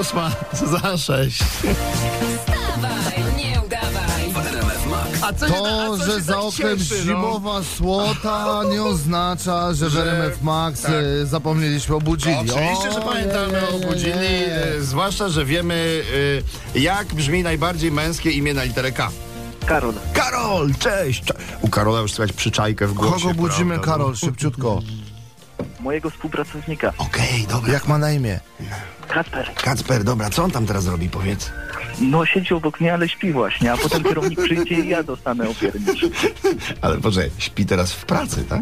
Ósma za sześć. Wstawaj, nie udawaj. A co się, na- a To, co że się za tak oknem cieszy, no? zimowa słota nie oznacza, że w Że- RMF Max tak. y, zapomnieliśmy obudzili. No, Oczywiście, że O, pamiętamy nie, o nie, budzili, nie, nie. y, zwłaszcza, że wiemy, y, jak brzmi najbardziej męskie imię na literę K. Karol, Karol, cześć! cze- U Karola już słychać przyczajkę w głosie. Kogo budzimy, prawda? no. Karol, szybciutko? mojego współpracownika. Okej, dobra. Jak ma na imię? Kasper, Kacper, dobra, co on tam teraz robi, powiedz? no siedzi obok mnie, ale śpi właśnie, a potem kierownik przyjdzie i ja dostanę opiernicz. Ale Boże, śpi teraz w pracy, tak?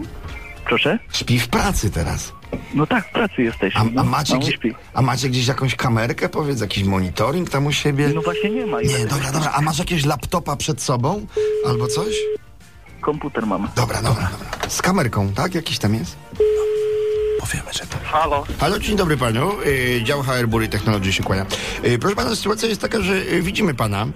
Proszę? Śpi w pracy teraz. No tak, w pracy jesteśmy. A, no, a, macie, on gdzie, śpi. a macie gdzieś jakąś kamerkę, powiedz, jakiś monitoring tam u siebie? No właśnie nie ma. Nie, dobra, dobra, a masz jakiegoś laptopa przed sobą? Albo coś? Komputer mam. Dobra, dobra, dobra. Z kamerką, tak? Jakiś tam jest? No, Powiemy, że to. Halo? Halo, dzień dobry panu. Y, dział HR Bury Technology się kłania. Y, proszę pana, sytuacja jest taka, że y, widzimy pana.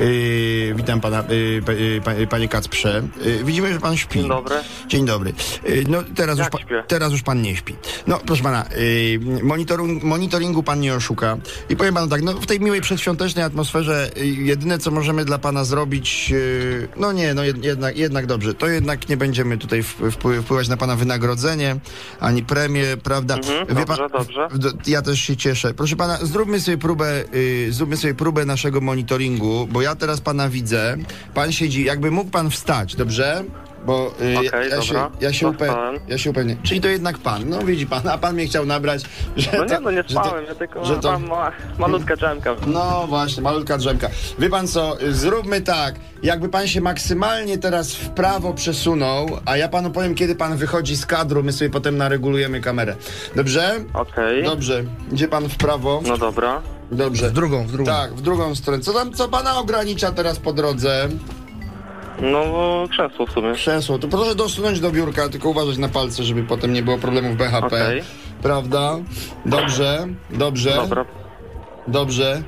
Y, witam pana, y, pa, y, pa, y, panie Kacprze. Y, widzimy, że pan śpi. Dzień dobry. Dzień dobry. Y, no, teraz, już Jak pa, śpię? teraz już pan nie śpi. No, proszę pana, y, monitoring, monitoringu pan nie oszuka. I powiem panu tak, no, w tej miłej przedświątecznej atmosferze y, jedyne, co możemy dla pana zrobić, y, no nie, no jed, jednak, jednak dobrze, to jednak nie będziemy tutaj wpły- wpły- wpływać na pana wynagrodzenie, ani premię, prawda? Mhm, dobrze, dobrze. D- Ja też się cieszę. Proszę pana, zróbmy sobie próbę, y, zróbmy sobie próbę naszego monitoringu, bo ja teraz pana widzę. Pan siedzi, jakby mógł pan wstać, dobrze? Bo y, ja- Okej, ja, się, dobra. ja, się upe- Wstałem. ja się upewnię. Czyli to jednak pan, no widzi pan, a pan mnie chciał nabrać, że No to, nie, no nie że to- spałem, ja tylko że to- mam ma, malutka dżemka. No właśnie, malutka drzemka. Wie pan co, y, zróbmy tak, jakby pan się maksymalnie teraz w prawo przesunął, a ja panu powiem, kiedy pan wychodzi z kadru, my sobie potem naregulujemy kamerę. Dobrze? Okej, Dobrze, idzie pan w prawo. no dobra. Dobrze. W drugą, w drugą. Tak, w drugą stronę. Co tam, co pana ogranicza teraz po drodze? No bo krzesło w sumie. Krzesło. To proszę dosunąć do biurka, tylko uważać na palce, żeby potem nie było problemów BHP. Okej. Prawda? Dobrze, dobrze, Dobra, dobrze.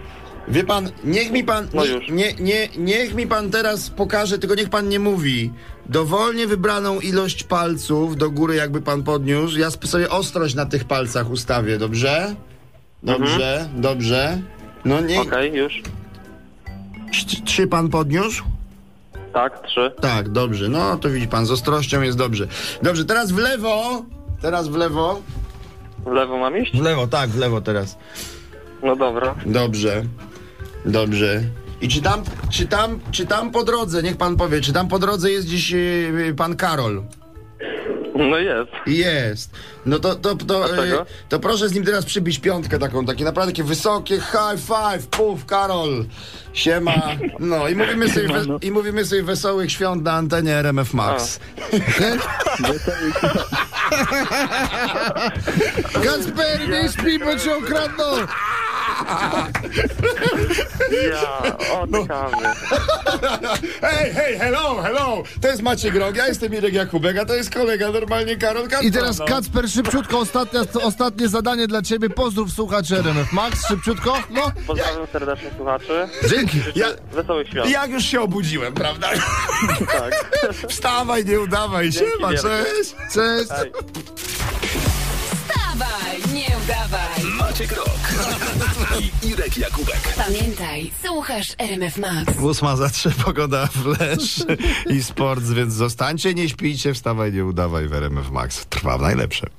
Wie pan, niech mi pan. No nie- już. Nie, nie, niech mi pan teraz pokaże, tylko niech pan nie mówi. Dowolnie wybraną ilość palców do góry, jakby pan podniósł. Ja sp- sobie ostrość na tych palcach ustawię, dobrze? Mhm. Dobrze, dobrze. No nie. okej, już. Trzy- Trzy pan podniósł? Tak, trzy. Tak, dobrze. No to widzi pan, z ostrością jest dobrze. Dobrze, teraz w lewo. Teraz w lewo. W lewo mam iść? W lewo, tak, w lewo teraz. No dobra. Dobrze. Dobrze. I czy tam, czy tam, czy tam po drodze, niech pan powie, czy tam po drodze jest dziś yy, pan Karol? No jest. Jest. No to, to, to, Dlaczego? yy, to proszę z nim teraz przybić piątkę taką, takie naprawdę takie wysokie high five, puf, Karol, siema. No i mówimy sobie, we, i mówimy sobie wesołych świąt na antenie RMF Max. Kacper, nie śpi, bo cię okradną! Ja, No. oddychamy. Hej, hej, hello, hello! To jest Maciek Grog, ja jestem Irek Jakubek, a to jest kolega normalnie Karol Kacper. I teraz no. Kacper, szybciutko, ostatnie, ostatnie zadanie dla ciebie. Pozdrów słuchaczy RMF Max, szybciutko. No, Pozdrawiam serdecznie słuchaczy. dzięki. Życzę Ja- wesołych świąt. Jak już się obudziłem, prawda? Tak. Wstawaj, nie udawaj, Dzięki siema, wielkie. cześć! Cześć. Hej. Wstawaj, nie udawaj. Maciek Rok i Irek Jakubek. Pamiętaj, słuchasz RMF Max. Ósma za trzy, pogoda, flash i sport, więc zostańcie, nie śpijcie, wstawaj, nie udawaj w RMF Max. Trwa w najlepsze.